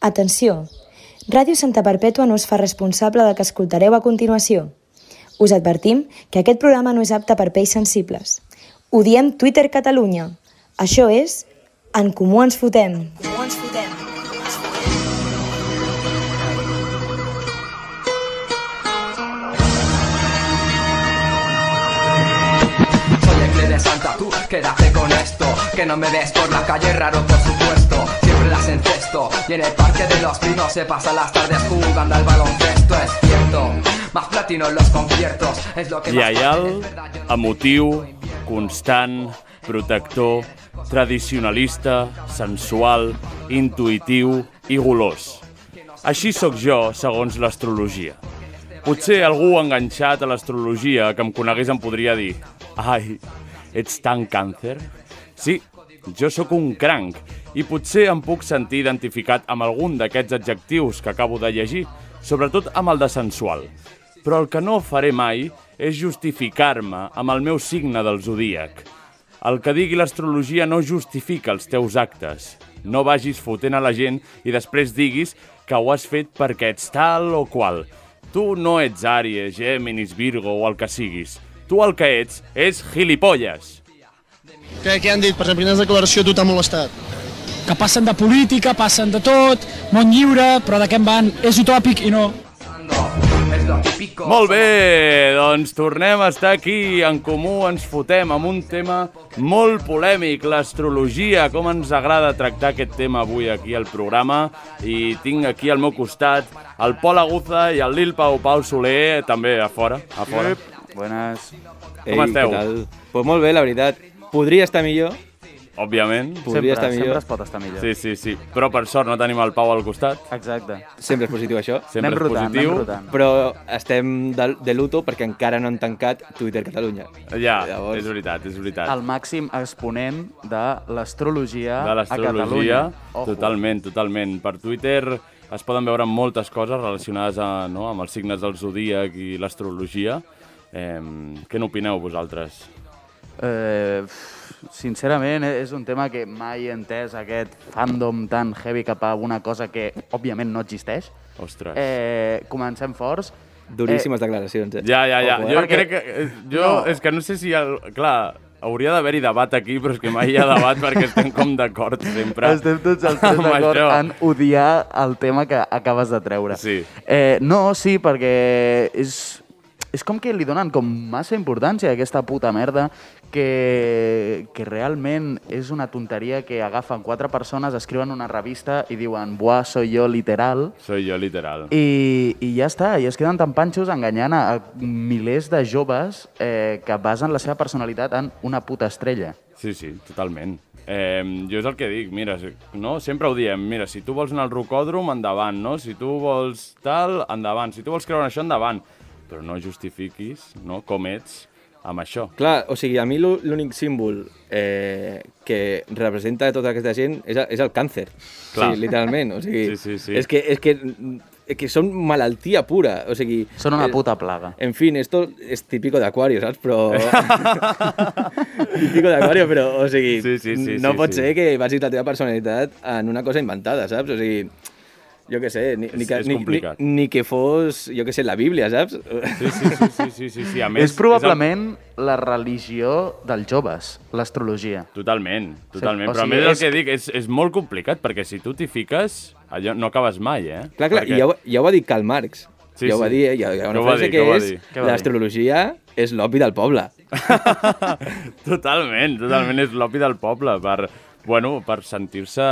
Atenció! Ràdio Santa Perpètua no es fa responsable del que escoltareu a continuació. Us advertim que aquest programa no és apte per pells sensibles. Ho diem Twitter Catalunya. Això és En Comú Ens Fotem. Comú ens fotem. Soy el Cle de Santa, tú quédate con esto Que no me ves por la calle, raro por supuesto Siempre las encesto Y en el parque de los pinos se pasan las tardes jugando al baloncesto Es cierto, más platino en los conciertos Es lo que más Lleial, es verdad, yo no- emotiu, constant, protector, tradicionalista, sensual, intuïtiu i golós. Així sóc jo, segons l'astrologia. Potser algú enganxat a l'astrologia que em conegués em podria dir «Ai, ets tan càncer?» Sí, jo sóc un cranc i potser em puc sentir identificat amb algun d'aquests adjectius que acabo de llegir, sobretot amb el de sensual. Però el que no faré mai és justificar-me amb el meu signe del zodíac. El que digui l'astrologia no justifica els teus actes. No vagis fotent a la gent i després diguis que ho has fet perquè ets tal o qual. Tu no ets Àries, Géminis, Virgo o el que siguis. Tu el que ets és gilipolles. Què, què han dit? Per exemple, quina declaració a tu t'ha molestat? que passen de política, passen de tot, món lliure, però de què en van? És utòpic i no. Es lo típico Molt bé, doncs tornem a estar aquí. En comú ens fotem amb un tema molt polèmic, l'astrologia. Com ens agrada tractar aquest tema avui aquí al programa. I tinc aquí al meu costat el Pol Aguza i el Lil Pau Pau Soler, també a fora. A fora. Buenas. Com esteu? Què tal? Pues molt bé, la veritat. Podria estar millor. Òbviament. Podria estar millor. Sempre es pot estar millor. Sí, sí, sí. Però per sort no tenim el Pau al costat. Exacte. Sempre és positiu, això. Sempre anem és rotant, positiu. anem rotant. Però estem de, de luto perquè encara no han tancat Twitter Catalunya. Ja, Llavors- és veritat, és veritat. El màxim exponent de l'astrologia de a Catalunya. l'astrologia. Totalment, totalment. Per Twitter es poden veure moltes coses relacionades a, no, amb els signes del zodíac i l'astrologia. Eh, què n'opineu vosaltres? Eh, pff, sincerament, eh, és un tema que mai he entès, aquest fandom tan heavy cap a una cosa que, òbviament, no existeix. Ostres. Eh, Eh, comencem forts. Duríssimes declaracions, eh? ja, ja, ja. Ojo, eh? Jo Perquè- crec que... eh, Jo, No. és que no sé si... El, clar, hauria d'haver-hi debat aquí, però és que mai hi ha debat perquè estem com d'acord sempre. Estem tots els tres amb d'acord això. en odiar el tema que acabes de treure. Sí. Eh, no, sí, perquè és, és com que li donen com massa importància a aquesta puta merda que, que realment és una tonteria que agafen quatre persones, escriuen una revista i diuen «Buah, soy jo, literal». Soy jo, literal. I, I ja està, i es queden tan panxos enganyant a a milers de joves eh, que basen la seva personalitat en una puta estrella. Sí, sí, totalment. Eh, jo és el que dic, mira, si- no? sempre ho diem, mira, si tu vols anar al rocòdrom, endavant, no? Si tu vols tal, endavant. Si tu vols creure en això, endavant. Però no justifiquis, no?, com ets amb això. Clar, o sigui, a mi l'ú- l'únic símbol eh, que representa tota aquesta gent és, el- és el càncer. Clar. Sí, literalment. O sigui, Sí, sí, sí. És que, és que, és que són malaltia pura. O sigui, Són una eh, puta plaga. En fin, esto es típico de Acuario, ¿sabes? Pero... típico de Acuario, pero, o sigui, Sí, sí, sí, no sí, pot sí. ser que basis la teva personalitat en una cosa inventada, saps? O sigui, jo què sé, ni, ni, És- que, és ni, ni, complicat. ni que fos, jo què sé, la Bíblia, saps? Sí, sí, sí, sí, sí, sí, sí. A més, és probablement la religió dels joves, l'astrologia. el... Totalment, totalment. o Però a sigui, més el és- que dic, és, és molt complicat, perquè si tu t'hi fiques, allò no acabes mai, eh? Clar, clar, perquè... i ja, ho- ja ho va dir Karl Marx. Sí, Sí, ja ho va sí. dir, eh? Hi ha, hi ha Què una ho va frase dir, que què ho va és dir? Ah. Què va dir? l'astrologia és l'opi del poble. Totalment, totalment és l'opi del poble per, bueno, per sentir-se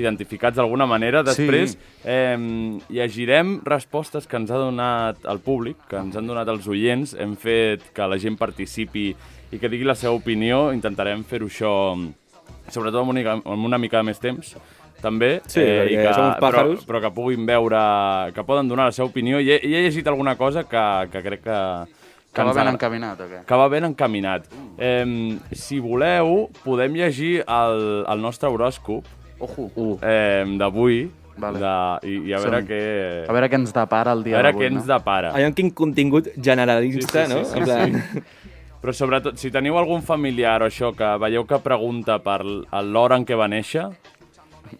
identificats d'alguna manera. Després sí. eh, llegirem respostes que ens ha donat el públic, que ens han donat els oients, hem fet que la gent participi i que digui la seva opinió, intentarem fer-ho això sobretot amb una, mica- amb una mica de més temps, també, eh, Sí, i perquè som uns però, pàjaros. però que puguin veure, que poden donar la seva opinió. I he, i he llegit alguna cosa que, que crec que... Que va ens ben agra- encaminat, o què? que va ben encaminat. Eh, si voleu, podem llegir el, el nostre horòscop Ojo. eh, d'avui Vale. de, i, i a veure Som-hi. què... A veure què ens depara el a dia veure d'avui, què ens no? depara. Allò en quin contingut generalista, Sí, sí, sí, no? sí, en plan... Però sobretot, si teniu algun familiar o això que veieu que pregunta per l- l'hora en què va néixer,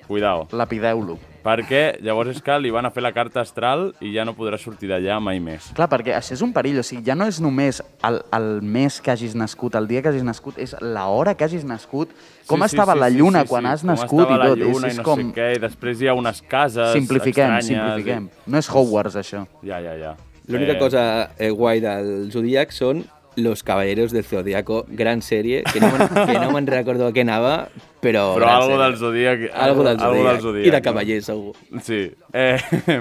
cuidao. Lapideu-lo. Perquè llavors és que li van a fer la carta astral i ja no podrà sortir d'allà mai més. Clar, perquè això és un perill, o sigui, ja no és només el, el mes que hagis nascut, el dia que hagis nascut, és l'hora que hagis nascut, com Sí, sí, estava sí, la sí, lluna sí, quan sí. has com nascut i estava tot. la lluna i és, és no com... sé què, i després hi ha unes cases Simplifiquem, estranyes. simplifiquem. No és Hogwarts, això. I... Ja, ja, ja. L'única cosa eh, guai del Zodiac són Los Caballeros del Zodiaco, gran sèrie, que no me'n que no me'n recordo a què anava, però... Però gran algo sèrie. del Zodíac... Algo del Zodiac. Algo del Zodiac I de no? Cavaller, segur. Sí. Eh,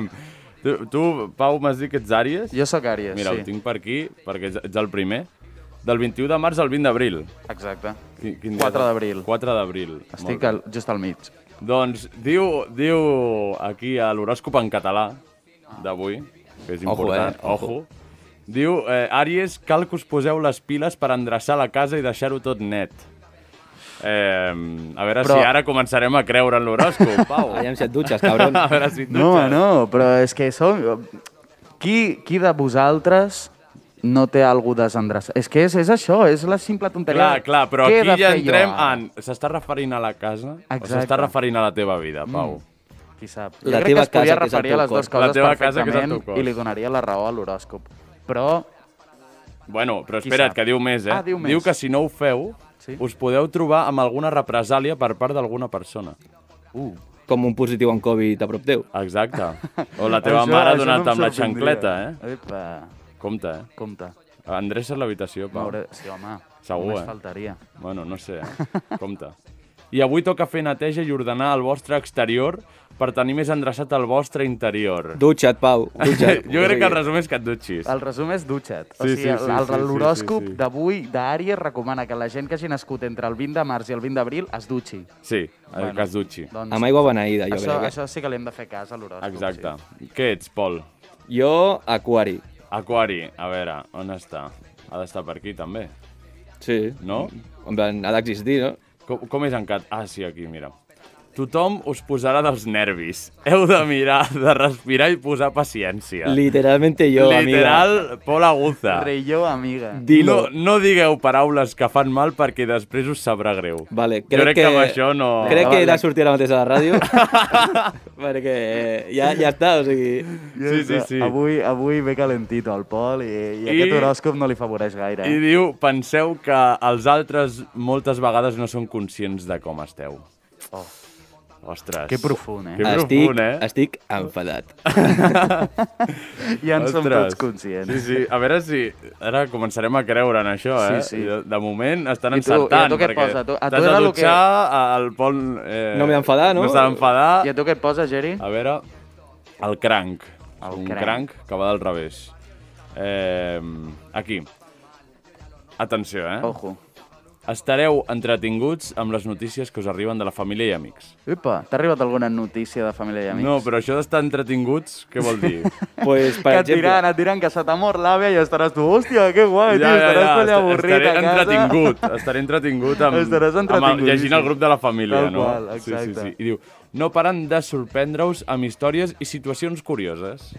tu, tu, Pau, m'has dit que ets àries? Jo sóc Àries, Mira, ho sí. tinc per aquí, perquè ets- ets el primer. Del 21 de març al 20 d'abril. Exacte. Quin, quin dia 4 és? d'abril. 4 d'abril. Molt Estic bé. al, just al mig. Doncs diu, diu aquí a l'horòscop en català d'avui, que és Ojo, important, eh? ojo, diu, eh, Àries, cal que us poseu les piles per endreçar la casa i deixar-ho tot net. Eh, a veure Però- si ara començarem a creure en l'horòscop, Pau. Aviam si et dutxes, cabron. a veure si tu... No, no, però és que som... Qui, qui de vosaltres no té algú desendreçat? És que és, és això, és la simple tonteria. Clar, clar, però Què he aquí de ja fer jo entrem ara? en... S'està referint a la casa o Exacte. Mm. s'està referint a la teva vida, Pau? Qui sap. La jo crec teva que es podia casa, que és el referir a teu les dues cos. coses La teva casa, que és el perfectament teu cos. i li donaria la raó a l'horòscop. Però, Bueno, però Qui espera't, sap? que diu més, eh? Ah, diu més. diu que si no ho feu, Sí. us podeu trobar amb alguna represàlia per part d'alguna persona. uh, Com un positiu en Covid a prop teu. Exacte. O la teva mare ha donat amb la xancleta, eh? Epa, Compte, eh? compte. Endreces l'habitació, Pau. M'hauré- Sí, home, Segur, només eh? faltaria. Bueno, no sé, eh? Compte. I avui toca fer neteja i ordenar el vostre exterior per tenir més endreçat el vostre interior. Dutxa't, Pau, dutxa't. jo crec que el resum és que et dutxis. El resum és dutxa't. O Sí, sigui, sí, sí, el- sí, sí, el- l'horòscop sí, sí. d'avui d'Àries recomana que la gent que hagi nascut entre el 20 de març i el 20 d'abril es dutxi. Sí, el que es dutxi. Doncs, Amb aigua beneïda, jo això, crec. eh. això sí que li hem de fer cas a l'horòscop. Exacte. Què ets, Pol? Que... Jo, Aquari. Aquari, a veure, on està? Ha d'estar per aquí, també, Sí. no? En plan, ha d'existir, no? Com, com és en cat? Ah, sí, aquí, mira. Tothom us posarà dels nervis. Heu de mirar, de respirar i posar paciència. Literalmente jo, Literal, amiga. Pol Aguza. Sí. Relleu, amiga. Dilo. No, no digueu paraules que fan mal perquè després us sabrà greu. Vale, Jo crec que amb això no- Crec que Vale. he de sortir ara mateix a la ràdio. perquè eh, ja, ja està, o sigui... Sí, sí, sí. Avui, avui ve calentito el Pol i, i, I- aquest horòscop no li favoreix gaire. eh? I diu, penseu que els altres moltes vegades no són conscients de com esteu. Oh. Ostres. Que profund, eh? Que Estic, profund, eh? estic enfadat. Ja en som Ostres. tots conscients. Sí, sí. A veure si ara començarem a creure en això, Sí, eh? sí. De, de moment estan I tu- i a tu encertant. què et perquè posa? A tu- a tu t'has de era lo que- dutxar, que... el pont... Eh, No m'he d'enfadar, no? No s'ha d'enfadar. I a tu què et posa, Geri? A veure, el cranc. El un cranc. cranc. que va del revés. Eh, aquí. Atenció, eh? Ojo. Estareu entretinguts amb les notícies que us arriben de la família i amics. Upa, t'ha arribat alguna notícia de família i amics? No, però això d'estar entretinguts, què vol dir? pues, per que et exemple... diran, et diran que se t'ha mort l'àvia i estaràs tu, hòstia, que guai, tio, estaràs ja, allà avorrit estaré a casa. entretingut, estaré entretingut amb, Estaràs amb el, llegint entretingudíssim. el grup de la família, Tal no? qual, Sí, exacte. sí, sí. I diu, no paren de sorprendre-us amb històries i situacions curioses.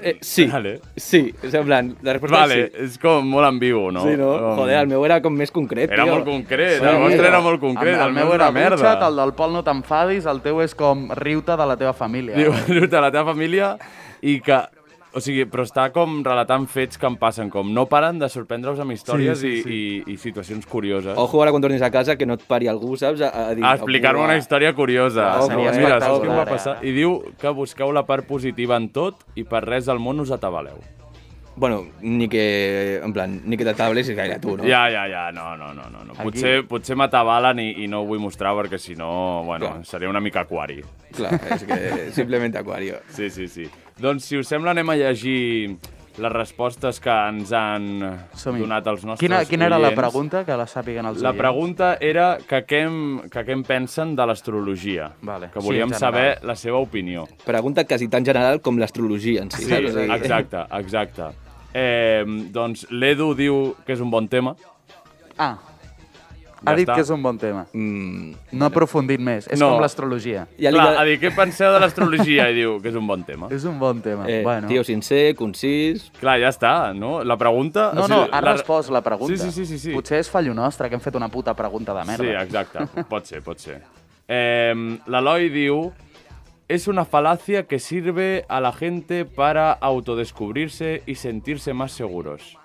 Eh, sí, Vale. sí, és en plan, la resposta vale, és sí. és com molt ambigu, no? Sí, no? Com- Joder, el meu era com més concret, Era tio. molt concret, Sí, el vostre tio. era molt concret, el, el, meu meu era era merda. Dutxa't, el del Pol no t'enfadis, el teu és com riu-te de la teva família. Diu, riu-te de la teva família i que... O sigui, però està com relatant fets que em passen, com no paren de sorprendre-us amb històries sí, sí, sí. I, i, i situacions curioses. Ojo ara quan tornis a casa que no et pari algú, saps? A, a dir, a explicar-me una història curiosa. Ojo, Mira, eh? saps què em va Ah, espectacular, passar? eh? I diu que busqueu la part positiva en tot i per res del món us atabaleu. Bueno, ni que, en plan, ni que t'atablessis gaire tu, no? Ja, ja, ja, no, no, no. no. no. Aquí- Potser, potser m'atabalen i, i no ho vull mostrar perquè si no, bueno, Clar. seria una mica aquari. Clar, és que simplement aquario. Sí, sí, sí. Doncs, si us sembla, anem a llegir les respostes que ens han Som-hi. donat els nostres Quina, quina era la oients. pregunta? Que la sàpiguen els La oients. pregunta era que què em, que què en pensen de l'astrologia. Vale. Que Sí, volíem en general. saber la seva opinió. Pregunta quasi tan general com l'astrologia en si. Sí, saps? O sigui, exacte, exacte. Eh, doncs l'Edu diu que és un bon tema. Ah, Ja ha dit està. que és un bon tema. Mm, No ha aprofundit més. És No. com l'astrologia. ja li Clar, de- ha dit, què penseu de l'astrologia? I diu que és un bon tema. És un bon tema. eh, bueno. Tio sincer, concís... Clar, ja està, no? La pregunta... no, o no, sigui, ha la- respost la pregunta. Sí, sí, sí, sí, sí. Potser és fallo nostre, que hem fet una puta pregunta de merda. Sí, exacte. Pot ser, pot ser. Eh, L'Eloi diu es una falacia que sirve a la gente para autodescubrirse y sentirse más seguros.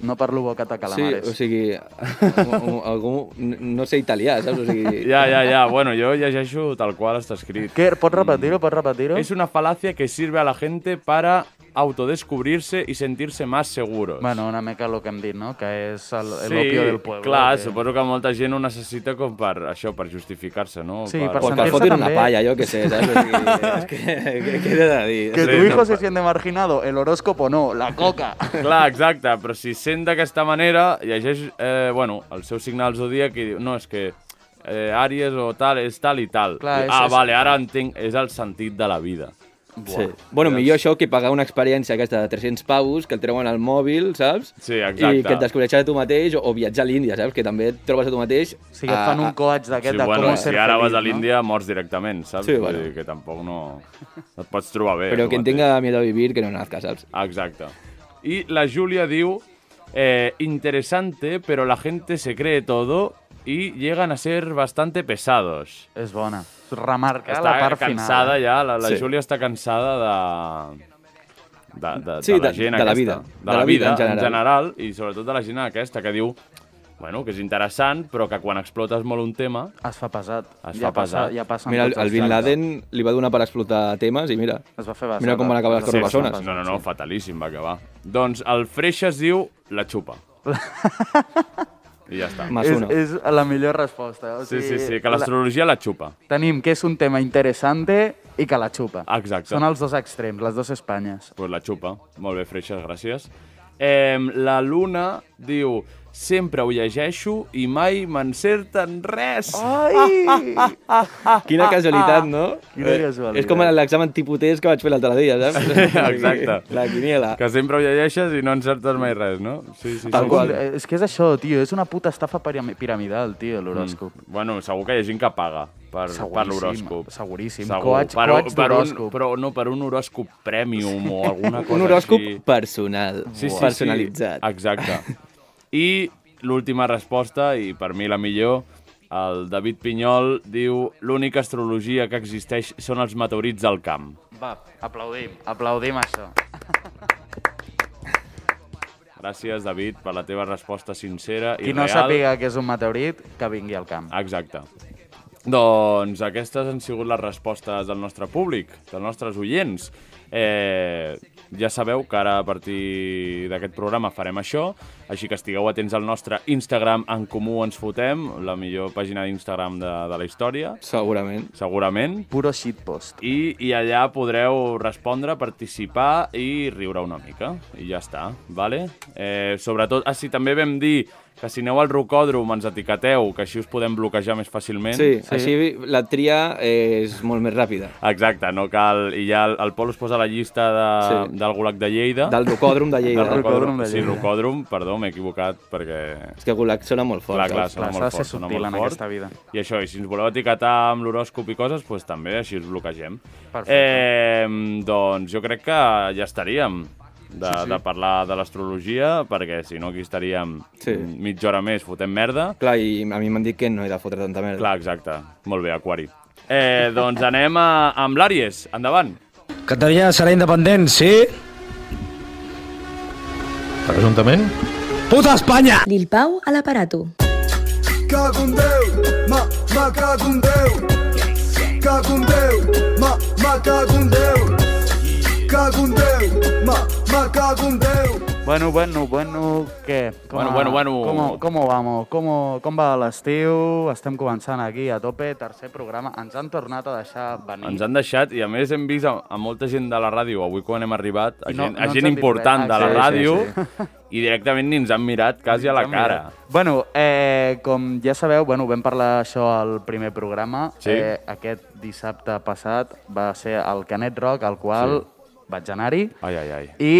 No parlo bocata Sí, calamares. o sigui, algú, algú- no sé italià, saps? O sigui, Ja, ja, ja, bueno, jo llegeixo tal qual està escrit. Què? Pots repetir-ho? Pots repetir-ho? Es una falacia que sirve a la gente para autodescubrirse y sentirse más seguros. Bueno, una mica el que hem dit, no? Que és el, el Sí, opio del pueblo. eh, clar, que... suposo que molta gent ho necessita com per això, per justificar-se, no? Sí, per o que sentir-se et fotin una també- palla, jo què sé, saps? O sigui, és que, que, que he de dir? Que tu Sí, hijo no, se pa- siente marginado, el horóscopo no, la coca. Clar, exacte, però si sent d'aquesta manera, llegeix, eh, bueno, el seu signe del zodíac i diu, no, és que eh, Àries o tal, és tal i tal. Clar, I, és- ah, és- vale, ara entenc, és el sentit de la vida. Sí. Bueno, millor això que pagar una experiència aquesta de 300 pavos, que et treuen al mòbil, saps? Sí, exacte. I que et descobreixes a tu mateix, o, o viatjar a l'Índia, saps? Que també et trobes a tu mateix... Ah, O sigui, et fan un coach d'aquest Ah, Sí, de bueno, com si ser ara feliç, vas a no? l'Índia, mors directament, saps? Sí, Vull bueno. dir que tampoc no, no et pots trobar bé. Però tu quien mateix. tenga miedo a vivir, que no nazca, saps? Exacte. Y la Julia diu, eh, interesante, pero la gente se cree todo y llegan a ser bastante pesados. És bona. Remarca Està la part cansada final. eh? ja, la, la Sí. Júlia està cansada de... De, de, Sí, la de- gent de la aquesta. vida. De, la, vida, en general. general. i sobretot de la gent aquesta que diu bueno, que és interessant, però que quan explotes molt un tema... Es fa pesat. Es ja fa pesat. Ja passen Mira, el, tots els el Bin tractes. Laden li va donar per explotar temes i mira, Es va fer basada. mira com van acabar les Es va fer corbasones. basada. No, no, no, fatalíssim va acabar. Doncs el Freixas diu la xupa. I ja està. más És, uno. és la millor resposta. O Sí, sigui, sí, sí, que Eh, la- l'astrologia la xupa. Tenim que és un tema interessante i que la xupa. Exacte. Són els dos extrems, les dues Espanyes. Pues la xupa. Molt bé, Freixas, gràcies. Eh, la Luna diu... Sempre ho llegeixo i mai m'encerten res. Ai! Ah, Quina casualitat, no? Quina Eh, casualitat. És com l'examen tipus test que vaig fer l'altre dia, saps? exacte. La quiniela. Que sempre ho llegeixes i no encertes mai res, no? Sí, sí, Tal sí. qual. Eh, És que és això, tio, és una puta estafa pirami- piramidal, tio, l'horòscop. Bueno, segur que hi ha gent que paga per, per Seguríssim, l'horòscop. seguríssim. Segur. Coach- per, coach per un, d'horòscop. però no, per un horòscop premium o alguna cosa Un horòscop així. personal, Sí, sí, personalitzat. Sí. Exacte. I l'última resposta, i per mi la millor, el David Pinyol diu l'única astrologia que existeix són els meteorits al camp. Mm. Va, aplaudim, aplaudim això. Gràcies, David, per la teva resposta sincera i Qui no real. sàpiga que és un meteorit, que vingui al camp. Exacte. Doncs aquestes han sigut les respostes del nostre públic, dels nostres oients. Eh, ja sabeu que ara a partir d'aquest programa farem això, així que estigueu atents al nostre Instagram en comú ens fotem, la millor pàgina d'Instagram de, de la història, Segurament. segurament, Puro shitpost. i, i allà podreu respondre, participar i riure una mica. I ja està, vale? Eh, sobretot, ah, sí, també vam dir que si aneu al rocòdrom ens etiqueteu, que així us podem bloquejar més fàcilment. Sí, així la tria és molt més ràpida. Exacte, no cal... I ja el, el Pol us posa la llista de, Sí. sí. del Gulag de Lleida. Del rocòdrom de Del Lleida. Del rocòdrom. de Sí, Lleida. rocòdrom, perdó, m'he equivocat perquè... És que Gulag sona molt fort. Clar, clar, saps? sona Clar, s'ha de molt ser fort, sona subtil molt en fort. aquesta vida. I això, i si ens voleu etiquetar amb l'horòscop i coses, doncs també, així us bloquegem. Perfecte. Eh, doncs jo crec que ja estaríem de, sí, sí. de parlar de l'astrologia, perquè si no aquí estaríem Sí. mitja hora més fotent merda. Clar, i a mi m'han dit que no he de fotre tanta merda. Clar, exacte. Molt bé, Aquari. Eh, doncs anem a, amb l'Àries. Endavant. Catalunya serà independent, sí? Presumptament? Puta Espanya! Lil Pau a l'aparato. Cago en Déu, ma, ma cago en Déu. Cago en Déu, ma, ma cago en Déu. Cago en Déu, ma, ma cago en Déu. Bueno, bueno, bueno, què? Bueno, bueno, bueno. Com, com vamos? Com, com va l'estiu? Estem començant aquí a tope, tercer programa. Ens han tornat a deixar venir. Ens han deixat, i a més hem vist a, a molta gent de la ràdio, avui quan hem arribat, a I no- gent, no a ens gent han dit important res. Ah, de la Sí, sí, ràdio, sí. i directament ni ens han mirat quasi a la Ens han cara. mirat. Doncs Bueno, eh, com ja sabeu, bueno, vam parlar això al primer programa. Sí. Eh, aquest dissabte passat va ser el Canet Rock, al qual vaig anar-hi. Ai, ai, ai. I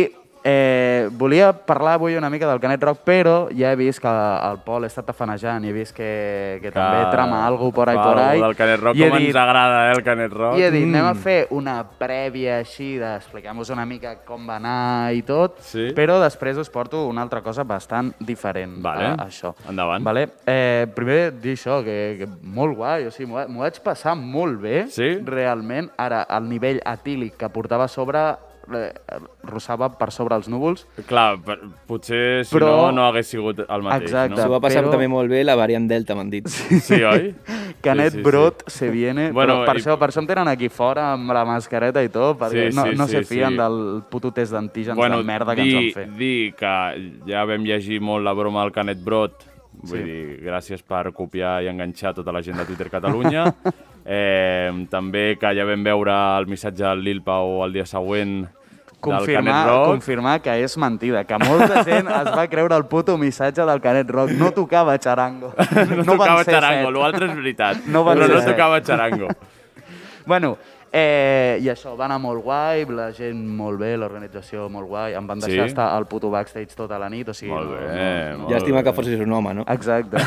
Eh, volia parlar avui una mica del Canet Rock, però ja he vist que el Pol està tafanejant i he vist que, que, també trama alguna por ahí, por ahí. El Canet Rock, I he com dit, ens agrada, eh, el Canet Rock. I he dit, anem a fer una prèvia així d'explicar-vos una mica com va anar i tot, Sí. però després us porto una altra cosa bastant diferent Vale. a, a això. Endavant. Vale. Eh, primer dir això, que, que molt guai, o sigui, m'ho va- m'ho vaig passar molt bé, Sí? realment. Ara, el nivell etílic que portava a sobre eh, russava per sobre els núvols. Clar, per, potser si Però- no, no hagués sigut el mateix, Exacte. S'ho va passar Però- també molt bé la variant Delta, m'han dit. no? Sí, oi? Sí, Canet sí, sí. Brot se viene. Bueno, Bueno, per, i- això, per això em tenen aquí fora amb la mascareta i tot, perquè Sí, no, sí, no sí, se fien sí. del puto test d'antígens de merda que dir, ens van fer. Dir que ja vam llegir molt la broma del Canet Brot, vull sí. dir, gràcies per copiar i enganxar tota la gent de Twitter Catalunya. eh, també que ja vam veure el missatge del Lil Pau el dia següent del confirmar, Canet Rock. confirmar que és mentida, que molta gent es va creure el puto missatge del Canet Rock. No tocava xarango. No, tocava van ser xarango, set. l'altre és veritat. No van però ser no set. tocava xarango. Bueno, eh, i això, va anar molt guai, la gent molt bé, l'organització molt guai, em van Sí? deixar estar al puto backstage tota la nit, o sigui... molt no- bé, no- molt Llàstima bé. que fossis un home, no? Exacte.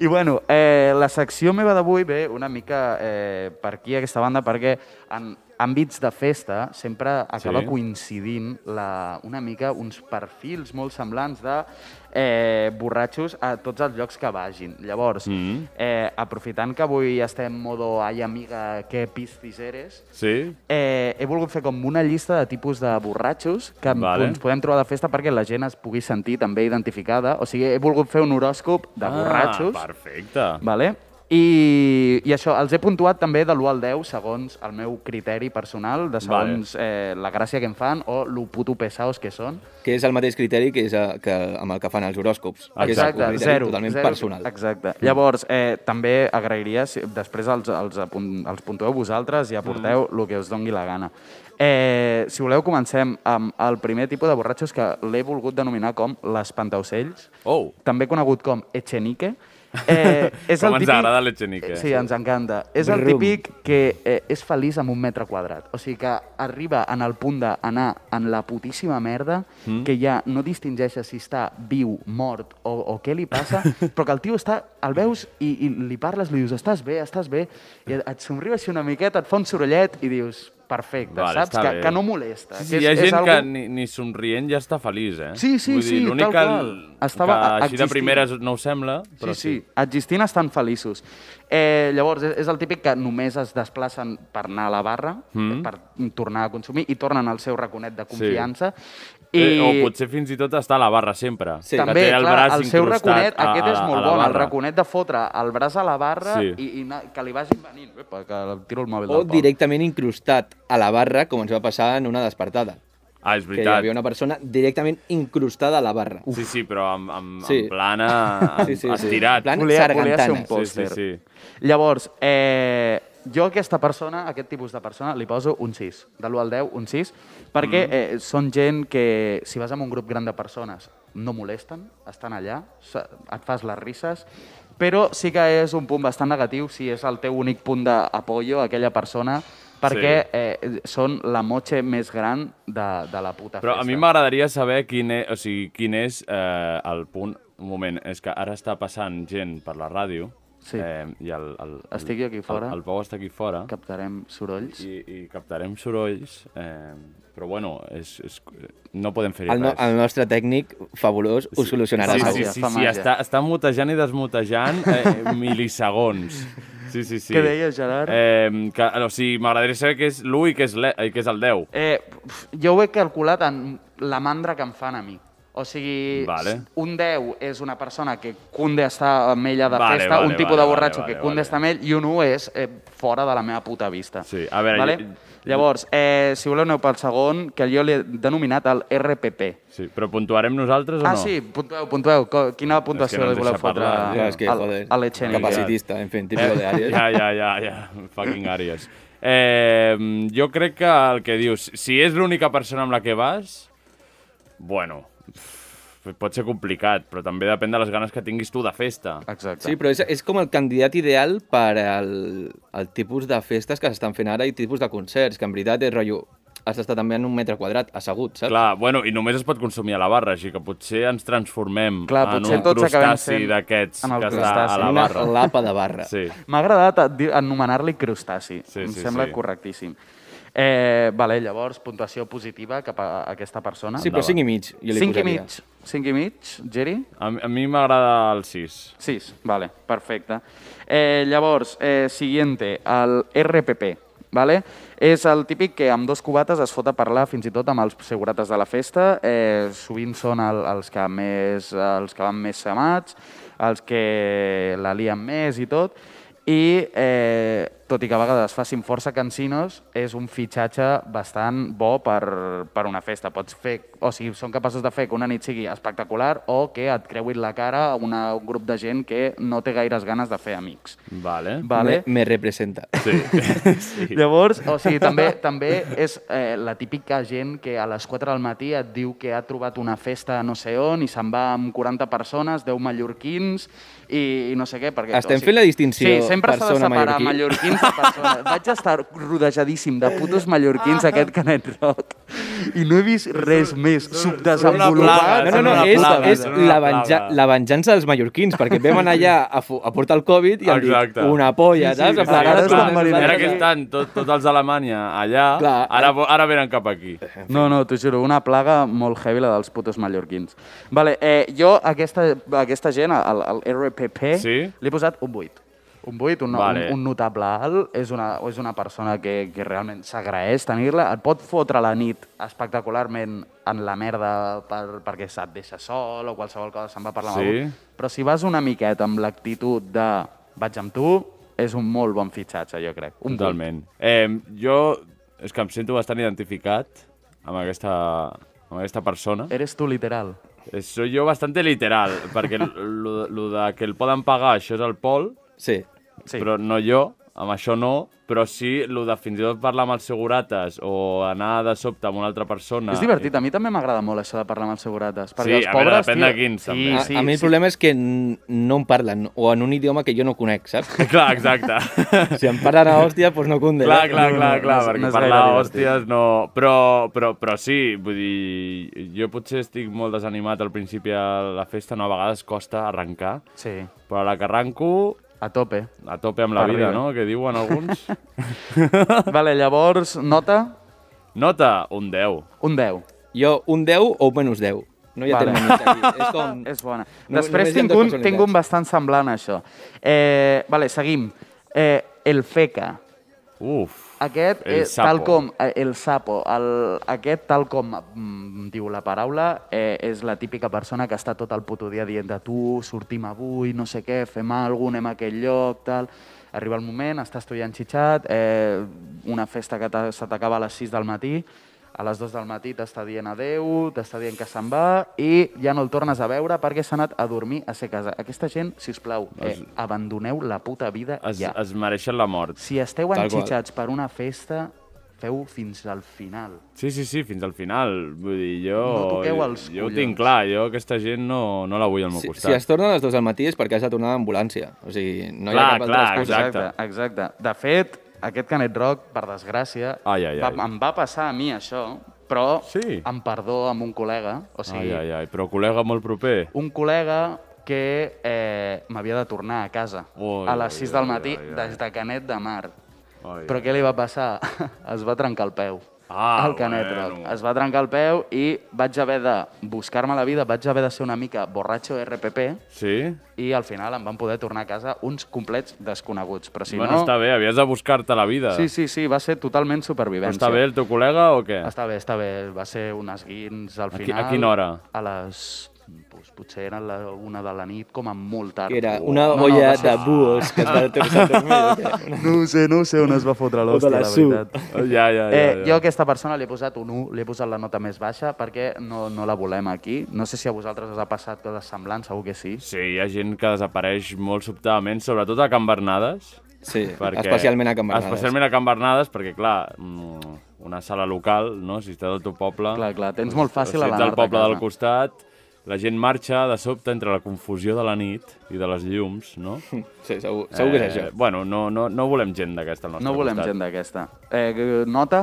I bueno, eh, la secció meva d'avui ve una mica eh, per aquí, a aquesta banda, perquè en àmbits de festa sempre acaba Sí. coincidint la, una mica uns perfils molt semblants de eh, borratxos a tots els llocs que vagin. Llavors, Mhm. eh, aprofitant que avui estem modo ai amiga, que pistis eres, Sí? Eh, he volgut fer com una llista de tipus de borratxos que Vale. vale. ens podem trobar de festa perquè la gent es pugui sentir també identificada. O sigui, he volgut fer un horòscop de borratxos. Ah, perfecte. Vale? I, I això, els he puntuat també de l'1 al 10 segons el meu criteri personal, de segons eh, la gràcia que em fan o lo puto pesaos que són. Que és el mateix criteri que és eh, que amb el que fan els horòscops. Que és un Exacte, criteri Totalment personal. Mm. Exacte. Llavors, eh, també agrairia, si, després els, els, apunt, els puntueu vosaltres i aporteu Mm. el que us dongui la gana. Eh, si voleu, comencem amb el primer tipus de borratxos que l'he volgut denominar com l'espantaocells, Oh. també conegut com echenique. Eh, és Com el ens típic... Eh, agrada l'echenique. Sí, ens encanta. És el Brum. típic que eh, és feliç amb un metre quadrat. O sigui que arriba en el punt d'anar en la putíssima merda, mm. que ja no distingeix si està viu, mort o, o què li passa, però que el tio està, el veus i, i li parles, li dius, estàs bé, estàs bé, i et, et somriu així una miqueta, et fa un sorollet i dius, perfecte, Vale, saps? està Que, bé. que no molesta. Sí, sí, que hi ha és- és gent algo- que ni, ni somrient ja està feliç, eh? Sí, sí, Vull dir, sí, l'únic tal que, qual. Estava Estava que així de existint. primeres no ho sembla, però sí, sí, sí, existint estan feliços. Eh, llavors, és, és el típic que només es desplacen per anar a la barra, mm. per tornar a consumir, i tornen al seu raconet de confiança. I... I Eh, o potser fins i tot està a la barra sempre. Sí. Que també, té el clar, braç el seu incrustat raconet, a, aquest és a- molt a la bon, el barra. raconet de fotre el braç a la barra Sí. i, i na, que li vagin venint. Epa, que tiro el mòbil O del Pol. directament incrustat a la barra, com ens va passar en una despertada. Ah, és Que hi veritat. havia una persona directament incrustada a la barra. Sí, sí, però amb, amb, Sí. en plana, Sí, sí, sí. estirat. En plan, volia, volia ser sargantana. un pòster. Sí, sí, Llavors, eh, jo a aquesta persona, a aquest tipus de persona, li poso un 6. De l'1 al 10, un 6, perquè Mm. eh, són gent que, si vas amb un grup gran de persones, no molesten, estan allà, se- et fas les risses, però sí que és un punt bastant negatiu si és el teu únic punt d'apollo a aquella persona, perquè Sí. eh, són la motxe més gran de, de la puta Però festa. a mi m'agradaria saber quin és, o sigui, quin és eh, el punt... Un moment, és que ara està passant gent per la ràdio Sí. eh, i el, el, el, Estic jo aquí fora. El, el Pau està aquí fora. Captarem sorolls. i, i captarem sorolls, eh, però bueno, és, és, no podem fer-hi El, no, res. el nostre tècnic, fabulós, ho solucionarà. sí, segur. sí, sí, Fa sí, màgia. està, està mutejant i desmutejant eh, milisegons. Sí, sí, sí. Què deies, Gerard? Eh, que, o sigui, m'agradaria saber què és l'1 i què és, l'e- i què és el 10. Eh, pf, jo ho he calculat en la mandra que em fan a mi. O sigui, Vale. un 10 és una persona que cunde estar amb ella de Vale, festa, vale, un tipus vale, de borratxo vale, que vale, cunde vale. estar amb ell, i un 1 és eh, fora de la meva puta vista. Sí, a veure, Vale? jo- Llavors, eh, si voleu aneu pel segon, que jo l'he denominat el RPP. Sí, però puntuarem nosaltres o Ah, no? sí, puntueu, puntueu. Co- Quina puntuació no ens li voleu deixa fotre parlar, Clar, és que, al- joder, a l'Echenique? capacitista, en fi, típico de Aries. Eh, Ja, ja, ja, ja. Fucking àries. Eh, jo crec que el que dius, si és l'única persona amb la que vas, bueno, pf, pot ser complicat, però també depèn de les ganes que tinguis tu de festa. Exacte. Sí, però és, és com el candidat ideal per al, al tipus de festes que s'estan fent ara i tipus de concerts, que en veritat és rotllo has d'estar també en un metre quadrat, assegut, saps? Clar, bueno, i només es pot consumir a la barra, així que potser ens transformem Clar, en potser un tots acabem crustaci sent d'aquests en el que està crustaci. a la Una barra. lapa de barra. Sí. M'ha agradat a- dir- anomenar-li crustaci. Sí, em sí, sembla sí. correctíssim. Eh, vale, llavors, puntuació positiva cap a aquesta persona. Sí, però Endavant. 5 i mig, jo li 5 i posaria. mig. 5 i mig, Geri? A, mi- a mi m'agrada el 6. 6, vale, perfecte. Eh, llavors, eh, siguiente, el RPP. Vale? És el típic que amb dos cubates es fot a parlar fins i tot amb els segurates de la festa. Eh, sovint són el, els, que més, els que van més samats, els que la lien més i tot. I, eh, tot i que a vegades facin força cansinos, és un fitxatge bastant bo per, per una festa. Pots fer, o sigui, són capaços de fer que una nit sigui espectacular o que et creuin la cara a una, un grup de gent que no té gaires ganes de fer amics. Vale. Vale? Me, me representa. Sí. Sí. Llavors, o sigui, també, també és eh, la típica gent que a les 4 del matí et diu que ha trobat una festa no sé on i se'n va amb 40 persones, 10 mallorquins i, i no sé què. Perquè, Estem fent la distinció Sí, sempre s'ha de persona separar mallorquí. mallorquins de persones. Vaig estar rodejadíssim de putos mallorquins a Ah, aquest Canet Roc i no he vist res més subdesenvolupat. plaga, No, no, no, Una és, plaga, és una la, plaga. venja, la venjança dels mallorquins, perquè vam anar allà a, fu- a portar el Covid i han dit Exacte. una polla, Sí, sí, saps? sí, En plan, sí, ara sí, es clar, tornen a clar, parlar. Era que estan tot, tots els d'Alemanya allà, Clar. ara, vo- ara venen cap aquí. No, no, t'ho juro, una plaga molt heavy la dels putos mallorquins. Vale, eh, jo aquesta, aquesta gent, al, al RPP, Sí? li he posat un 8. Un 8, un, Vale. vale. un, un notable alt, és una, és una persona que, que realment s'agraeix tenir-la, et pot fotre la nit espectacularment en la merda per, perquè se't deixa sol o qualsevol cosa, se'n va parlar Sí. amb algú. Però si vas una miqueta amb l'actitud de vaig amb tu, és un molt bon fitxatge, jo crec. Un Totalment. Eh, jo és que em sento bastant identificat amb aquesta, amb aquesta persona. 8. Eres tu, literal. Eh, Soy yo bastante literal, perquè lo, lo de que el poden pagar, això és el Pol, Sí. sí. però no jo, amb això no, però sí lo de fins i tot parlar amb els segurates o anar de sobte amb una altra persona. És divertit, a mi també m'agrada molt això de parlar amb els segurates. Perquè Sí, els a veure, pobres, depèn tio, de quins, sí, també. A, Sí, a mi el sí. problema és que n- no em parlen, o en un idioma que jo no conec, saps? Eh, Clar, exacte. Si em parlen a hòstia, doncs no conde. clar, clar, no, clar, no, clar, no és- perquè no és parlar gaire divertit. hòsties no... Però, però, però sí, vull dir, jo potser estic molt desanimat al principi a la festa, no? A vegades costa arrencar, Sí, però a la que arranco, a tope. a tope amb la Arriba. vida, no?, que diuen alguns. vale, llavors, nota, Nota, un 10. un 10. Jo, un 10 o un menys 10. No hi ha Vale. vale. terme mig aquí. És com... És bona. No- Després només hi ha tinc dues un, personalitats. tinc un bastant semblant a això. Eh, vale, seguim. Eh, el feca. Uf. Aquest, El eh, tal sapo. com... eh, El sapo. El, aquest, tal com mm, diu la paraula, eh, és la típica persona que està tot el puto dia dient de tu, sortim avui, no sé què, fem alguna cosa, anem a aquell lloc, tal... Arriba el moment, estàs tu ja enxitxat, eh, una festa que t'ha- se t'acaba a les 6 del matí, a les 2 del matí t'està dient adeu, t'està dient que se'n va i ja no el tornes a veure perquè s'ha anat a dormir a ser casa. Aquesta gent, si us plau, eh, abandoneu la puta vida Es, ja. es mereixen la mort. Si esteu Tal qual. enxitxats per una festa, feu fins al final. Sí, sí, sí, fins al final. Vull dir, jo... No toqueu els Jo ho collons. tinc clar, jo aquesta gent no, no la vull al meu Si, costat. si es torna a les 2 del matí és perquè has de tornar a l'ambulància. O sigui, no hi ha Clar, cap altra clar, excusa. Exacte. exacte. exacte. De fet, aquest Canet Rock, per desgràcia, Ai, ai, va, ai. em va passar a mi això, però Sí. amb perdó amb un col·lega. O sigui, Ai, ai, ai, però col·lega molt proper. un col·lega que eh, m'havia de tornar a casa Ui, a les ui, 6 del ui, matí ai, ai. des de Canet de Mar. Ai, Però què li va passar? es va trencar el peu. Ah, el Canet bueno. Rock. Es va trencar el peu i vaig haver de buscar-me la vida, vaig haver de ser una mica borratxo RPP Sí? i al final em van poder tornar a casa uns complets desconeguts. Però si bueno, no... està bé, havies de buscar-te la vida. Sí, sí, sí, va ser totalment Però supervivència. està bé el teu col·lega o què? Està bé, està bé. Va ser un esguins al A qui- final. a quina hora? A les... Doncs, potser era la una de la nit, com a molt tard. Que era una No, no, olla va ser- de búhos que es va tornar a dormir. o què? No ho sé, no ho sé on es va fotre l'hòstia, la, suc. veritat. Oh, Ja, ja, ja. Eh, ja. jo a aquesta persona li he posat un 1, li he posat la nota més baixa perquè no, no la volem aquí. No sé si a vosaltres us ha passat coses semblants, segur que sí. Sí, hi ha gent que desapareix molt sobtadament, sobretot a Can Bernades. Sí, Perquè... especialment a Can Bernades. Especialment a Can Bernades, perquè, clar, mm, una sala local, no? si estàs al teu poble... Clar, clar, tens molt fàcil Ah, si a ets l'anar-te al poble a del casa. costat, la gent marxa de sobte entre la confusió de la nit i de les llums, no? Sí, segur, segur que és Eh, això. Bueno, no, no, no volem gent d'aquesta al nostre No volem costat. gent d'aquesta. Eh, nota?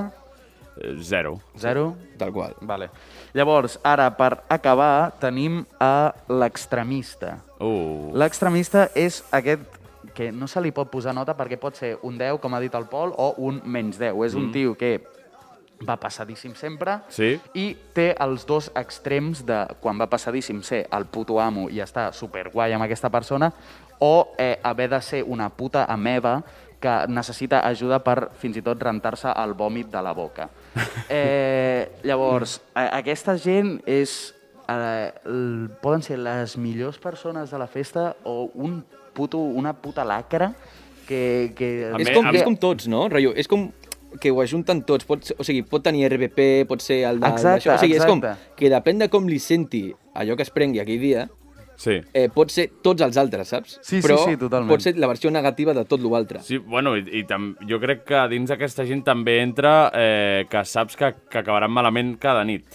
Eh, Zero. Zero? Tal qual. Vale. Llavors, ara, per acabar, tenim a l'extremista. Uh. L'extremista és aquest que no se li pot posar nota perquè pot ser un 10, com ha dit el Pol, o un menys 10. És un tio que va passadíssim sempre Sí. i té els dos extrems de quan va passadíssim ser el puto amo i estar superguai amb aquesta persona o eh, haver de ser una puta ameba que necessita ajuda per fins i tot rentar-se el vòmit de la boca. Eh, llavors, eh, aquesta gent és, eh, el, poden ser les millors persones de la festa o un puto, una puta lacra que... que A És mi- com, a mi- és com tots, no? Rotllo, és com que ho ajunten tots. Pot, ser- o sigui, pot tenir RBP, pot ser el de... Exacte, això. o sigui, exacte. És com que depèn de com li senti allò que es prengui aquell dia, Sí. eh, pot ser tots els altres, saps? Sí, sí, Però sí, totalment. pot ser la versió negativa de tot l'altre. Sí, bueno, i, i tam, jo crec que dins d'aquesta gent també entra eh, que saps que, que acabaran malament cada nit.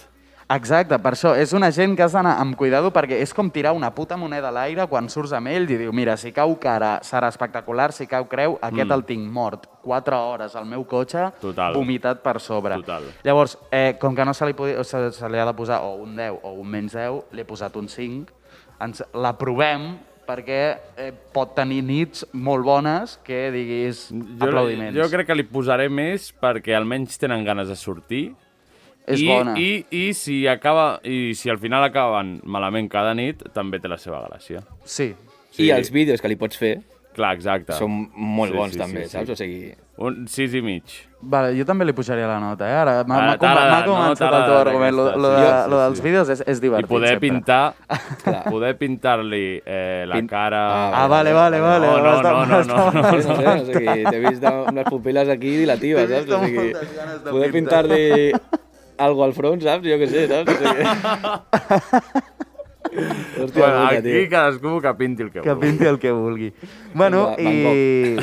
Exacte, per això és una gent que has d'anar amb cuidado perquè és com tirar una puta moneda a l'aire quan surts amb ells i diu, mira, si cau cara serà espectacular, si cau creu, aquest el tinc mort. 4 hores al meu cotxe, Mm. Total. vomitat per sobre. Total. Llavors, eh, com que no se li, podia, o se, se li ha de posar o un 10 o un menys 10, li he posat un 5, ens l'aprovem perquè eh, pot tenir nits molt bones que diguis aplaudiments. Jo crec que li posaré més perquè almenys tenen ganes de sortir. És I, bona. I, i, si acaba, I si al final acaben malament cada nit, també té la seva gràcia. Sí. I els vídeos que li pots fer Clar, exacte. són molt Sí, bons, sí, també, sí, sí. saps? O sigui... Un 6 i mig. Vale, jo també li pujaria la nota, eh? Ara m'ha Ara m'ha com- t'agrada, m'ha no? començat el teu T'agrada argument. Lo, aquesta, lo, sí. de, Sí, lo dels sí. vídeos és, és I divertit poder sempre. pintar, Clar. poder pintar-li eh, la Pin- cara... Ah, vale, vale, vale. No, no, m'està- no, no, m'està- no, No, sé, no sé, o sigui, t'he vist amb unes pupil·les aquí dilatives, T'he saps? vist O amb sigui, moltes ganes de poder pintar. pintar-li algo al front, saps? Jo què sé, saps? O sigui... Hòstia, Bueno, puta, tio. aquí cadascú que pinti el que, Que vulgui. pinti el que vulgui. Bueno, Va, i,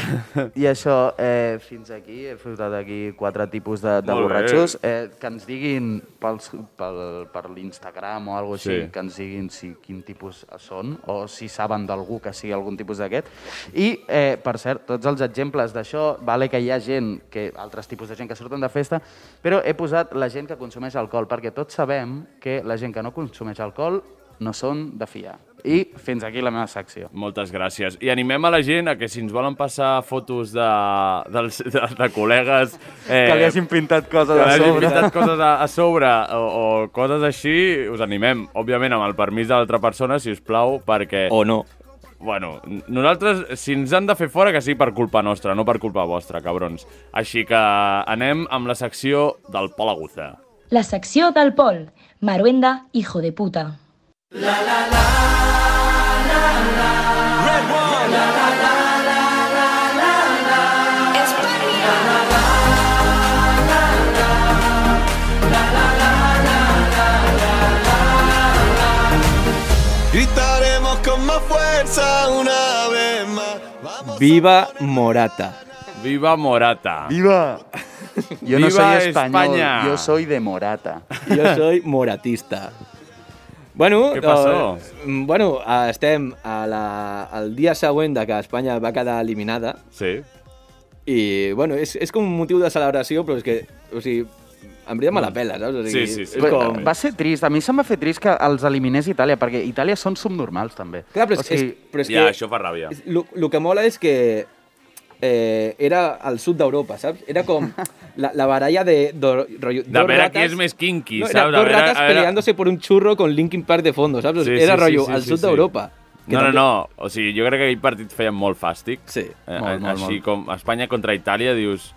i això, eh, fins aquí, he filtrat aquí quatre tipus de, Molt de bé. borratxos. Eh, que ens diguin pels, pel, per l'Instagram o alguna així, Sí. que ens diguin si, quin tipus són o si saben d'algú que sigui algun tipus d'aquest. I, eh, per cert, tots els exemples d'això, vale que hi ha gent, que altres tipus de gent que surten de festa, però he posat la gent que consumeix alcohol, perquè tots sabem que la gent que no consumeix alcohol no són de fiar. I fins aquí la meva secció. Moltes gràcies. I animem a la gent a que si ens volen passar fotos de, dels, de, de col·legues... Eh, que li hagin pintat coses que li a hagin sobre. pintat coses a, a sobre o, o coses així, us animem, òbviament, amb el permís de l'altra persona, si us plau, perquè... O no. Bueno, n- nosaltres, si ens han de fer fora, que sigui per culpa nostra, no per culpa vostra, cabrons. Així que anem amb la secció del Pol Aguza. La secció del Pol. Maruenda, hijo de puta. Gritaremos con más fuerza una vez más. Vamos Viva Morata. Viva Morata. Viva! Yo no Viva soy español, España. yo soy de Morata. Jo soy moratista. Bueno, Què passó? eh, bueno, eh, estem a la, al dia següent de que Espanya va quedar eliminada Sí. i, bueno, és, és com un motiu de celebració, però és que, o sigui, en veritat me la pela, saps? O sigui, Mm. Sí, sí, sí. És Però com... Va ser trist, a mi se'm va fer trist que els eliminés Itàlia, perquè Itàlia són subnormals, també. Clar, però o és, sigui, és, però és ja, que... això fa ràbia. El que mola és que eh, era al sud d'Europa, saps? Era com la, la baralla de... Do, De rotllo, dos veure ratas- qui és més kinky, no, saps? Era De dos veure- ratas a veure- peleándose por un churro con Linkin Park de fondo, saps? Sí, era sí, rotllo sí, sí, al sí, sud sí. d'Europa. que No, no, també- no. O sigui, jo crec que aquell partit feien molt fàstic. Eh, Sí, molt, molt, així molt. com Espanya contra Itàlia, dius...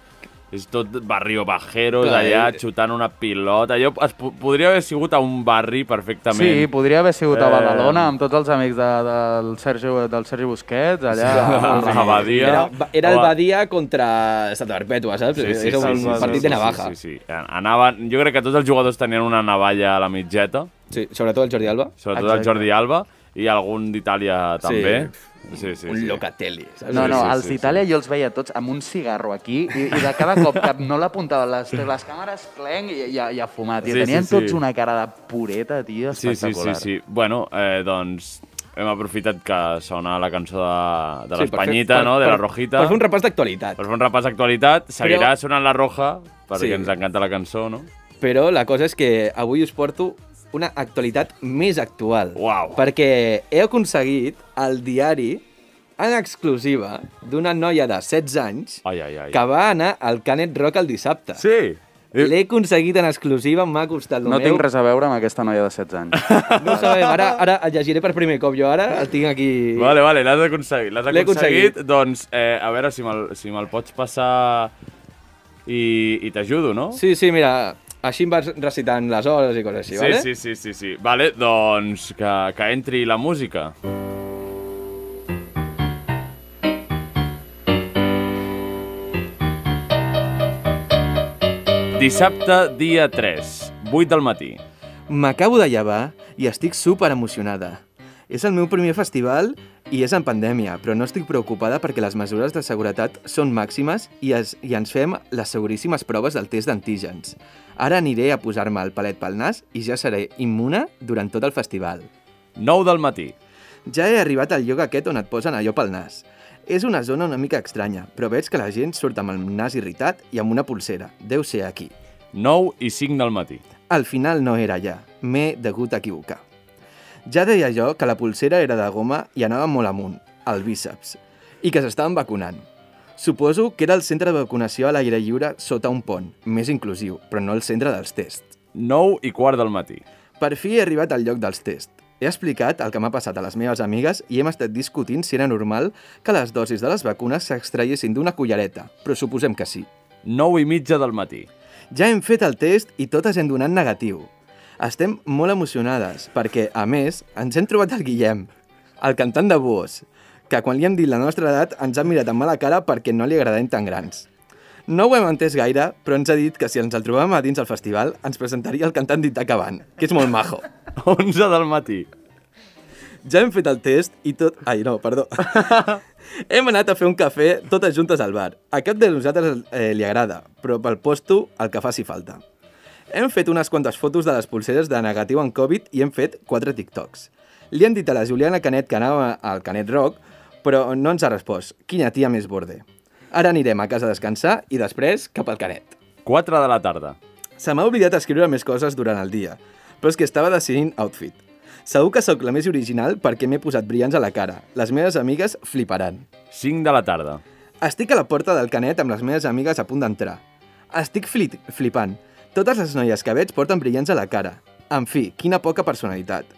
És tot barrio bajeros, Clar, allà eh. xutant una pilota. Allò es po- podria haver sigut a un barri perfectament. Sí, podria haver sigut a Eh, Badalona amb tots els amics de, del, Sergi, del Sergi Busquets, allà. Sí, a Badia. Era, ba- era el O a- Badia contra Santa Perpètua, saps? era un sí, sí, partit de sí, navaja. Sí, sí, sí. Anaven, jo crec que tots els jugadors tenien una navalla a la mitgeta, Sí, sobretot el Jordi Alba. sobretot Exacte. el Jordi Alba, i algun d'Itàlia també. Sí, sí, un sí. locatelli, saps? No, no, sí, els sí, d'Itàlia jo els veia tots amb un cigarro aquí i, i de cada cop que no l'apuntava les, les càmeres, clenc, i, i, a- i a fumat. Sí, I sí, tenien sí. tots una cara de pureta, tio, Sí, sí, espectacular. sí, sí. Bueno, eh, doncs hem aprofitat que sona la cançó de, de Sí, per fer- l'Espanyita, per- no? de per- la Rojita. Per fer un repàs d'actualitat. Per fer un repàs d'actualitat, seguirà Però- sonant la Roja, perquè Sí. ens encanta la cançó, no? Però la cosa és que avui us porto una actualitat més actual. Uau. Perquè he aconseguit el diari en exclusiva d'una noia de 16 anys Ai, ai, ai. que va anar al Canet Rock el dissabte. Sí! Eh. L'he aconseguit en exclusiva, m'ha costat el No meu. tinc res a veure amb aquesta noia de 16 anys. No ho sabem, ara, ara el llegiré per primer cop. Jo ara el tinc aquí... Vale, vale, l'has aconseguit. L'has L'he aconseguit. aconseguit. Doncs, eh, a veure si me'l si me pots passar i, i t'ajudo, no? Sí, sí, mira, així em vas recitant les hores i coses així, sí, vale? sí, sí, sí, sí. Vale, doncs que, que entri la música. Dissabte, dia 3, 8 del matí. M'acabo de llevar i estic super emocionada. És el meu primer festival i és en pandèmia, però no estic preocupada perquè les mesures de seguretat són màximes i, es, i ens fem les seguríssimes proves del test d'antígens. Ara aniré a posar-me el palet pel nas i ja seré immune durant tot el festival. 9 del matí. Ja he arribat al lloc aquest on et posen allò pel nas. És una zona una mica estranya, però veig que la gent surt amb el nas irritat i amb una pulsera. Deu ser aquí. 9 i 5 del matí. Al final no era allà, m'he degut equivocar. Ja deia jo que la pulsera era de goma i anava molt amunt, al bíceps, i que s'estaven vacunant. Suposo que era el centre de vacunació a l'aire lliure sota un pont, més inclusiu, però no el centre dels tests. 9 i quart del matí. Per fi he arribat al lloc dels tests. He explicat el que m'ha passat a les meves amigues i hem estat discutint si era normal que les dosis de les vacunes s'extraiessin d'una cullereta, però suposem que sí. 9 i mitja del matí. Ja hem fet el test i totes hem donat negatiu. Estem molt emocionades perquè, a més, ens hem trobat el Guillem, el cantant de Buos, que quan li hem dit la nostra edat ens ha mirat amb mala cara perquè no li agradem tan grans. No ho hem entès gaire, però ens ha dit que si ens el trobàvem a dins el festival ens presentaria el cantant d'Itaca Band, que és molt majo. 11 del matí. Ja hem fet el test i tot... Ai, no, perdó. hem anat a fer un cafè totes juntes al bar. A cap de nosaltres eh, li agrada, però pel posto el que faci falta. Hem fet unes quantes fotos de les pulseres de negatiu en Covid i hem fet quatre TikToks. Li han dit a la Juliana Canet que anava al Canet Rock, però no ens ha respost. Quina tia més borde. Ara anirem a casa a descansar i després cap al Canet. 4 de la tarda. Se m'ha oblidat escriure més coses durant el dia, però és que estava decidint outfit. Segur que sóc la més original perquè m'he posat brillants a la cara. Les meves amigues fliparan. 5 de la tarda. Estic a la porta del canet amb les meves amigues a punt d'entrar. Estic flit flipant. Totes les noies que veig porten brillants a la cara. En fi, quina poca personalitat.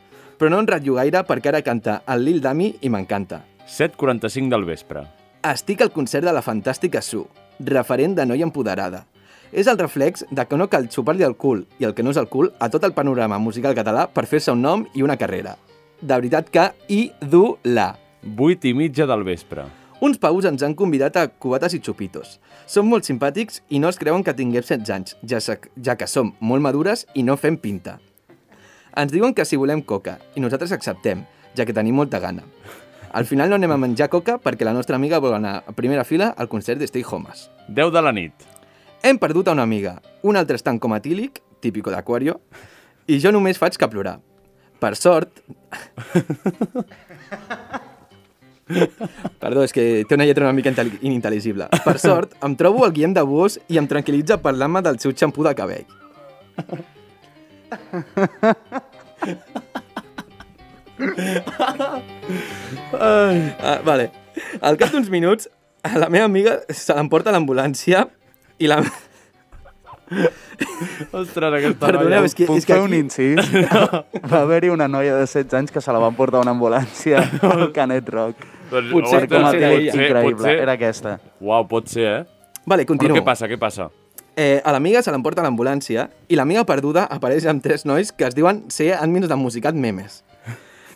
Però no en ratllo gaire perquè ara canta el Lil Dami i m'encanta. 7.45 del vespre. Estic al concert de la fantàstica Su, referent de noia empoderada. És el reflex de que no cal xupar-li el cul i el que no és el cul a tot el panorama musical català per fer-se un nom i una carrera. De veritat que i du la. 8 i mitja del vespre. Uns paus ens han convidat a cubates i xupitos. Són molt simpàtics i no es creuen que tinguem 16 anys, ja, sa- ja que som molt madures i no fem pinta. Ens diuen que si volem coca, i nosaltres acceptem, ja que tenim molta gana. Al final no anem a menjar coca perquè la nostra amiga vol anar a primera fila al concert de Stay Homes. 10 de la nit. Hem perdut a una amiga, un altre és tan comatílic, típico d'Aquario, i jo només faig que plorar. Per sort... Perdó, és que té una lletra una mica intel- inintel·ligible. Per sort, em trobo el Guillem de Bus i em tranquil·litza parlant-me del seu xampú de cabell. Ah, vale. Al cap d'uns minuts, a la meva amiga se l'emporta a l'ambulància i la... Ostres, aquesta Perdoneu, és que, Puc és que fer un aquí... incís? Va haver-hi una noia de 16 anys que se la van portar a una ambulància al Canet Rock. Doncs, potser ostres, com a sí, dia, potser, increïble, potser. era aquesta. Uau, pot ser, eh? Vale, continuo. Però què passa, què passa? Eh, a l'amiga se l'emporta a l'ambulància i l'amiga perduda apareix amb tres nois que es diuen ser admins de Musicat Memes.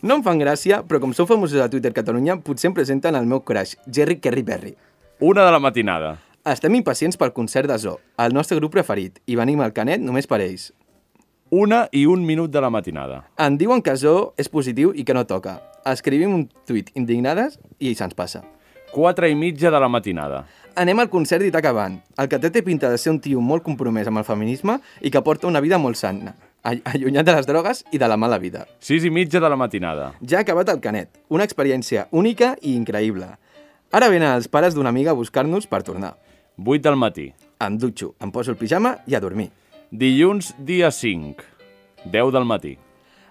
No em fan gràcia, però com sou famosos a Twitter Catalunya, potser em presenten el meu crush, Jerry Kerry Berry. Una de la matinada. Estem impacients pel concert de Zoo, el nostre grup preferit, i venim al Canet només per ells. Una i un minut de la matinada. Em diuen que Zoo és positiu i que no toca. Escrivim un tuit indignades i se'ns passa. 4 i mitja de la matinada. Anem al concert d'Itaca Band, el que té té pinta de ser un tio molt compromès amb el feminisme i que porta una vida molt sana. all- allunyat de les drogues i de la mala vida. 6 i mitja de la matinada. Ja ha acabat el Canet, una experiència única i increïble. Ara venen els pares d'una amiga a buscar-nos per tornar. 8 del matí. Em dutxo, em poso el pijama i a dormir. Dilluns, dia 5. 10 del matí.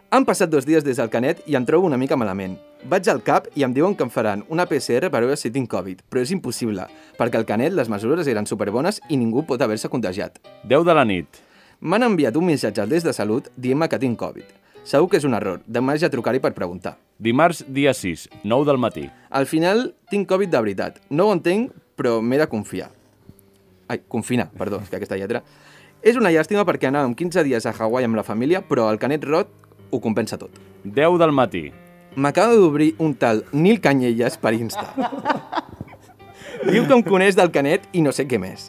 Han passat dos dies des del Canet i em trobo una mica malament. Vaig al CAP i em diuen que em faran una PCR per veure si tinc Covid, però és impossible, perquè al Canet les mesures eren superbones i ningú pot haver-se contagiat. 10 de la nit. M'han enviat un missatge al des de salut dient-me que tinc Covid. Segur que és un error, demà ja trucaré per preguntar. Dimarts, dia 6. 9 del matí. Al final, tinc Covid de veritat. No ho entenc, però m'he de confiar. Ai, confinar, perdó, és que aquesta lletra... És una llàstima perquè anàvem 15 dies a Hawaii amb la família, però el Canet Rot ho compensa tot. 10 del matí. M'acaba d'obrir un tal Nil Canyelles per Insta. Diu que em coneix del Canet i no sé què més.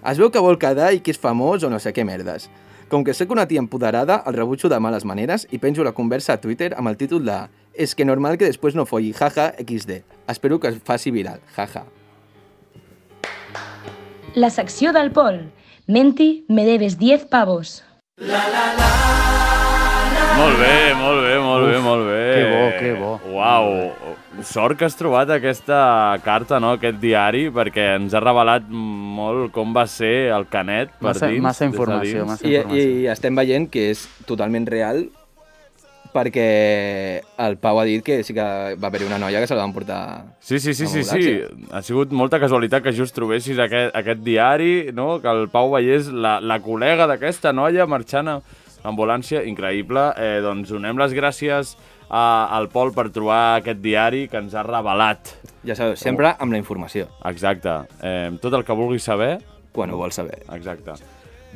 Es veu que vol quedar i que és famós o no sé què merdes. Com que sóc una tia empoderada, el rebutjo de males maneres i penjo la conversa a Twitter amb el títol de «És que normal que després no folli, jaja, XD. Espero que es faci viral, jaja». La secció del Pol. Menti, me debes 10 pavos. Molt bé, molt bé, molt bé, molt bé. que bo, que bo. Uau, sort que has trobat aquesta carta, no?, aquest diari, perquè ens ha revelat molt com va ser el Canet per Massa- dins. massa des de informació, dins. massa- I, I informació. estem veient que és totalment real perquè el Pau ha dit que sí que va haver-hi una noia que se la van portar... Sí, sí, sí, amb sí, sí. ambulància. Ha sigut molta casualitat que just trobessis aquest, aquest diari, no? que el Pau veiés la, la col·lega d'aquesta noia marxant a ambulància, increïble. Eh, doncs donem les gràcies a, al Pol per trobar aquest diari que ens ha revelat. Ja sabeu, sempre amb la informació, Exacte. Eh, tot el que vulguis saber, quan ho vols saber. exacte.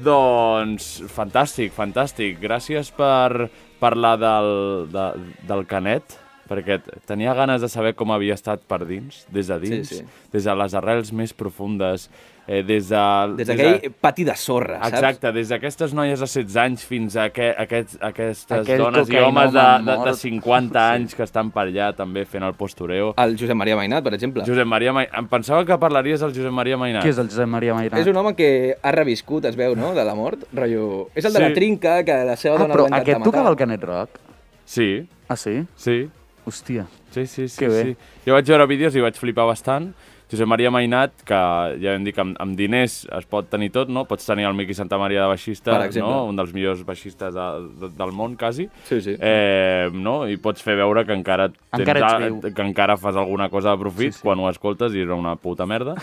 Doncs fantàstic, fantàstic. Gràcies per parlar del, de, del Canet, perquè t- tenia ganes de saber com havia estat per dins, des de dins, Sí, sí. des de les arrels més profundes, eh, des de... Des de- d'aquell pati de sorra, saps? Exacte, des d'aquestes noies de 16 anys fins a que, aquest, aquestes Aquell dones i cocaïnòman homes de, de, de mort. 50 anys que estan per allà també fent el postureo. El Josep Maria Mainat, per exemple. Josep Maria Mai... Em pensava que parlaries del Josep Maria Mainat. Qui és el Josep Maria Mairà? És un home que ha reviscut, es veu, no?, de la mort. Rotllo... És el de Sí. la trinca, que la seva Ah, dona però el va intentar aquest tocava el matar. Canet Rock? Sí, Ah, sí? sí. Hòstia. Sí, sí, sí. Que bé. sí. Jo vaig veure vídeos i vaig flipar bastant. Josep Maria Mainat, que ja vam dir que amb, amb diners es pot tenir tot, no? Pots tenir el Miqui Santa Maria de baixista, Per exemple. no? un dels millors baixistes de, de, del món, quasi. Sí, sí. Eh, no? I pots fer veure que encara, Encara tens ets a- viu. que encara fas alguna cosa de profit sí, sí. quan ho escoltes i era una puta merda.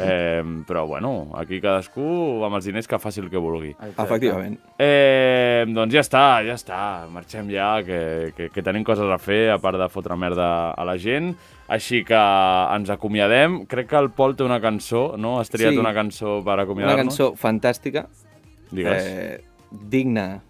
eh, però bueno, aquí cadascú amb els diners que faci el que vulgui. Efectivament. Eh, doncs ja està, ja està. Marxem ja, que, que, que tenim coses a fer, a part de fotre merda a la gent. Així que ens acomiadem. Crec que el Pol té una cançó, no? Has triat Sí. sí. una cançó per Una acomiadar-nos. cançó fantàstica, Digues. Eh... eh, digna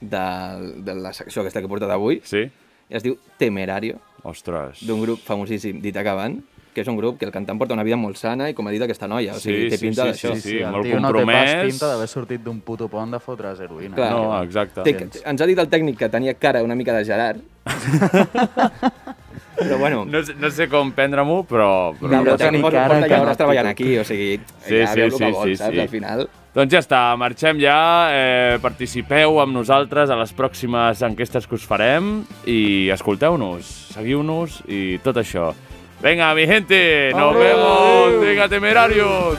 de, de la secció aquesta que he portat avui. Sí? i es diu Temerario, Ostres. d'un grup famosíssim d'Itaca Band, que és un grup que el cantant porta una vida molt sana i com ha dit aquesta noia, o sigui, té sí, pinta d'això. sí, sí, Sí, el molt tio no té pas compromès. pinta d'haver sortit d'un puto pont de fotre's heroïna. Clar. No, exacte. Té, té- ens ha dit el tècnic que tenia cara una mica de Gerard, però bueno, no, No, sé- no sé com prendre-m'ho, però... però... però no el tècnic tenir porta, cara porta que ja hores no. treballant aquí, o sigui, Sí, ja sí, veu el que sí, vols, sí, saps, sí. al final. Doncs ja està, marxem ja. Eh, participeu amb nosaltres a les pròximes enquestes que us farem i escolteu-nos, seguiu-nos i tot això. Venga, mi gente, nos vemos. Venga, temerarios.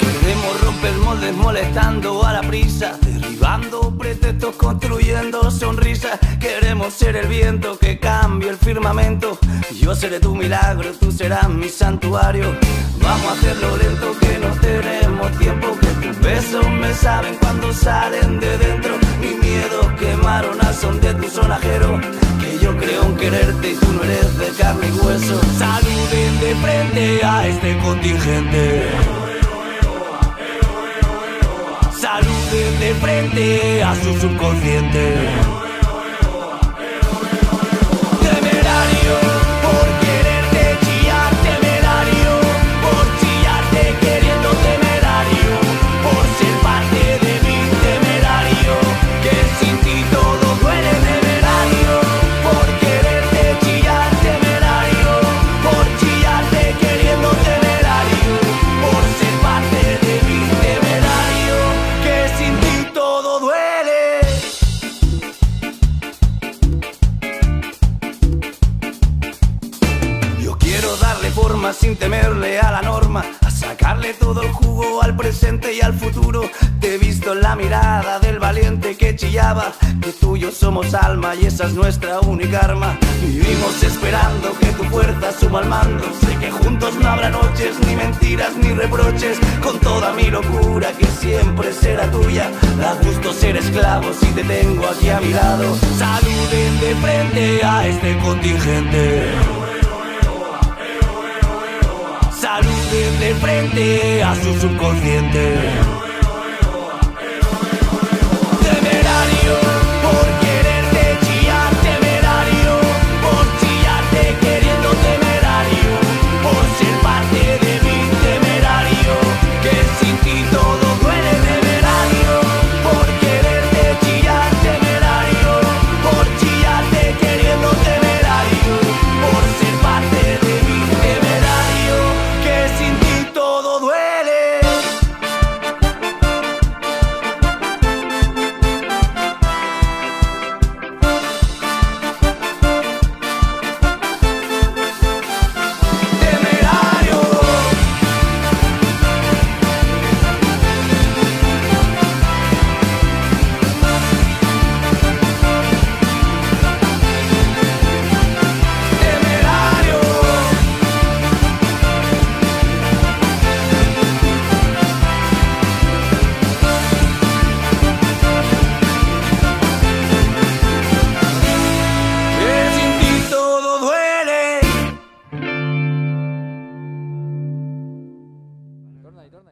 Queremos romper moldes molestando a la prisa, derribando pretextos, construyendo sonrisas. Queremos ser el viento que cambie el firmamento. Yo seré tu milagro, tú serás mi santuario. Vamos a hacerlo lento, que no tenemos tiempo. Que tus besos me saben cuando salen de dentro. Mis miedos quemaron al son de tu sonajero. Que yo creo en quererte y tú no eres de carne y hueso. Saluden de frente a este contingente. Saluden de frente a su subconsciente. Temerario por quererte chillar, temerario por chillarte queriendo, temerario por ser parte de mí, temerario que sin ti todo duele, temerario por quererte chillar, temerario por chillarte queriendo, temerario por ser parte de mí, temerario. forma sin temerle a la norma, a sacarle todo el jugo al presente y al futuro. Te he visto en la mirada del valiente que chillaba, que tú y yo somos alma y esa es nuestra única arma. Vivimos esperando que tu fuerza suma al mando, sé que juntos no habrá noches, ni mentiras, ni reproches, con toda mi locura que siempre será tuya. Da gusto ser esclavo si te tengo aquí a mi lado. Saluden de frente a este contingente. Saluden de frente a su subconsciente.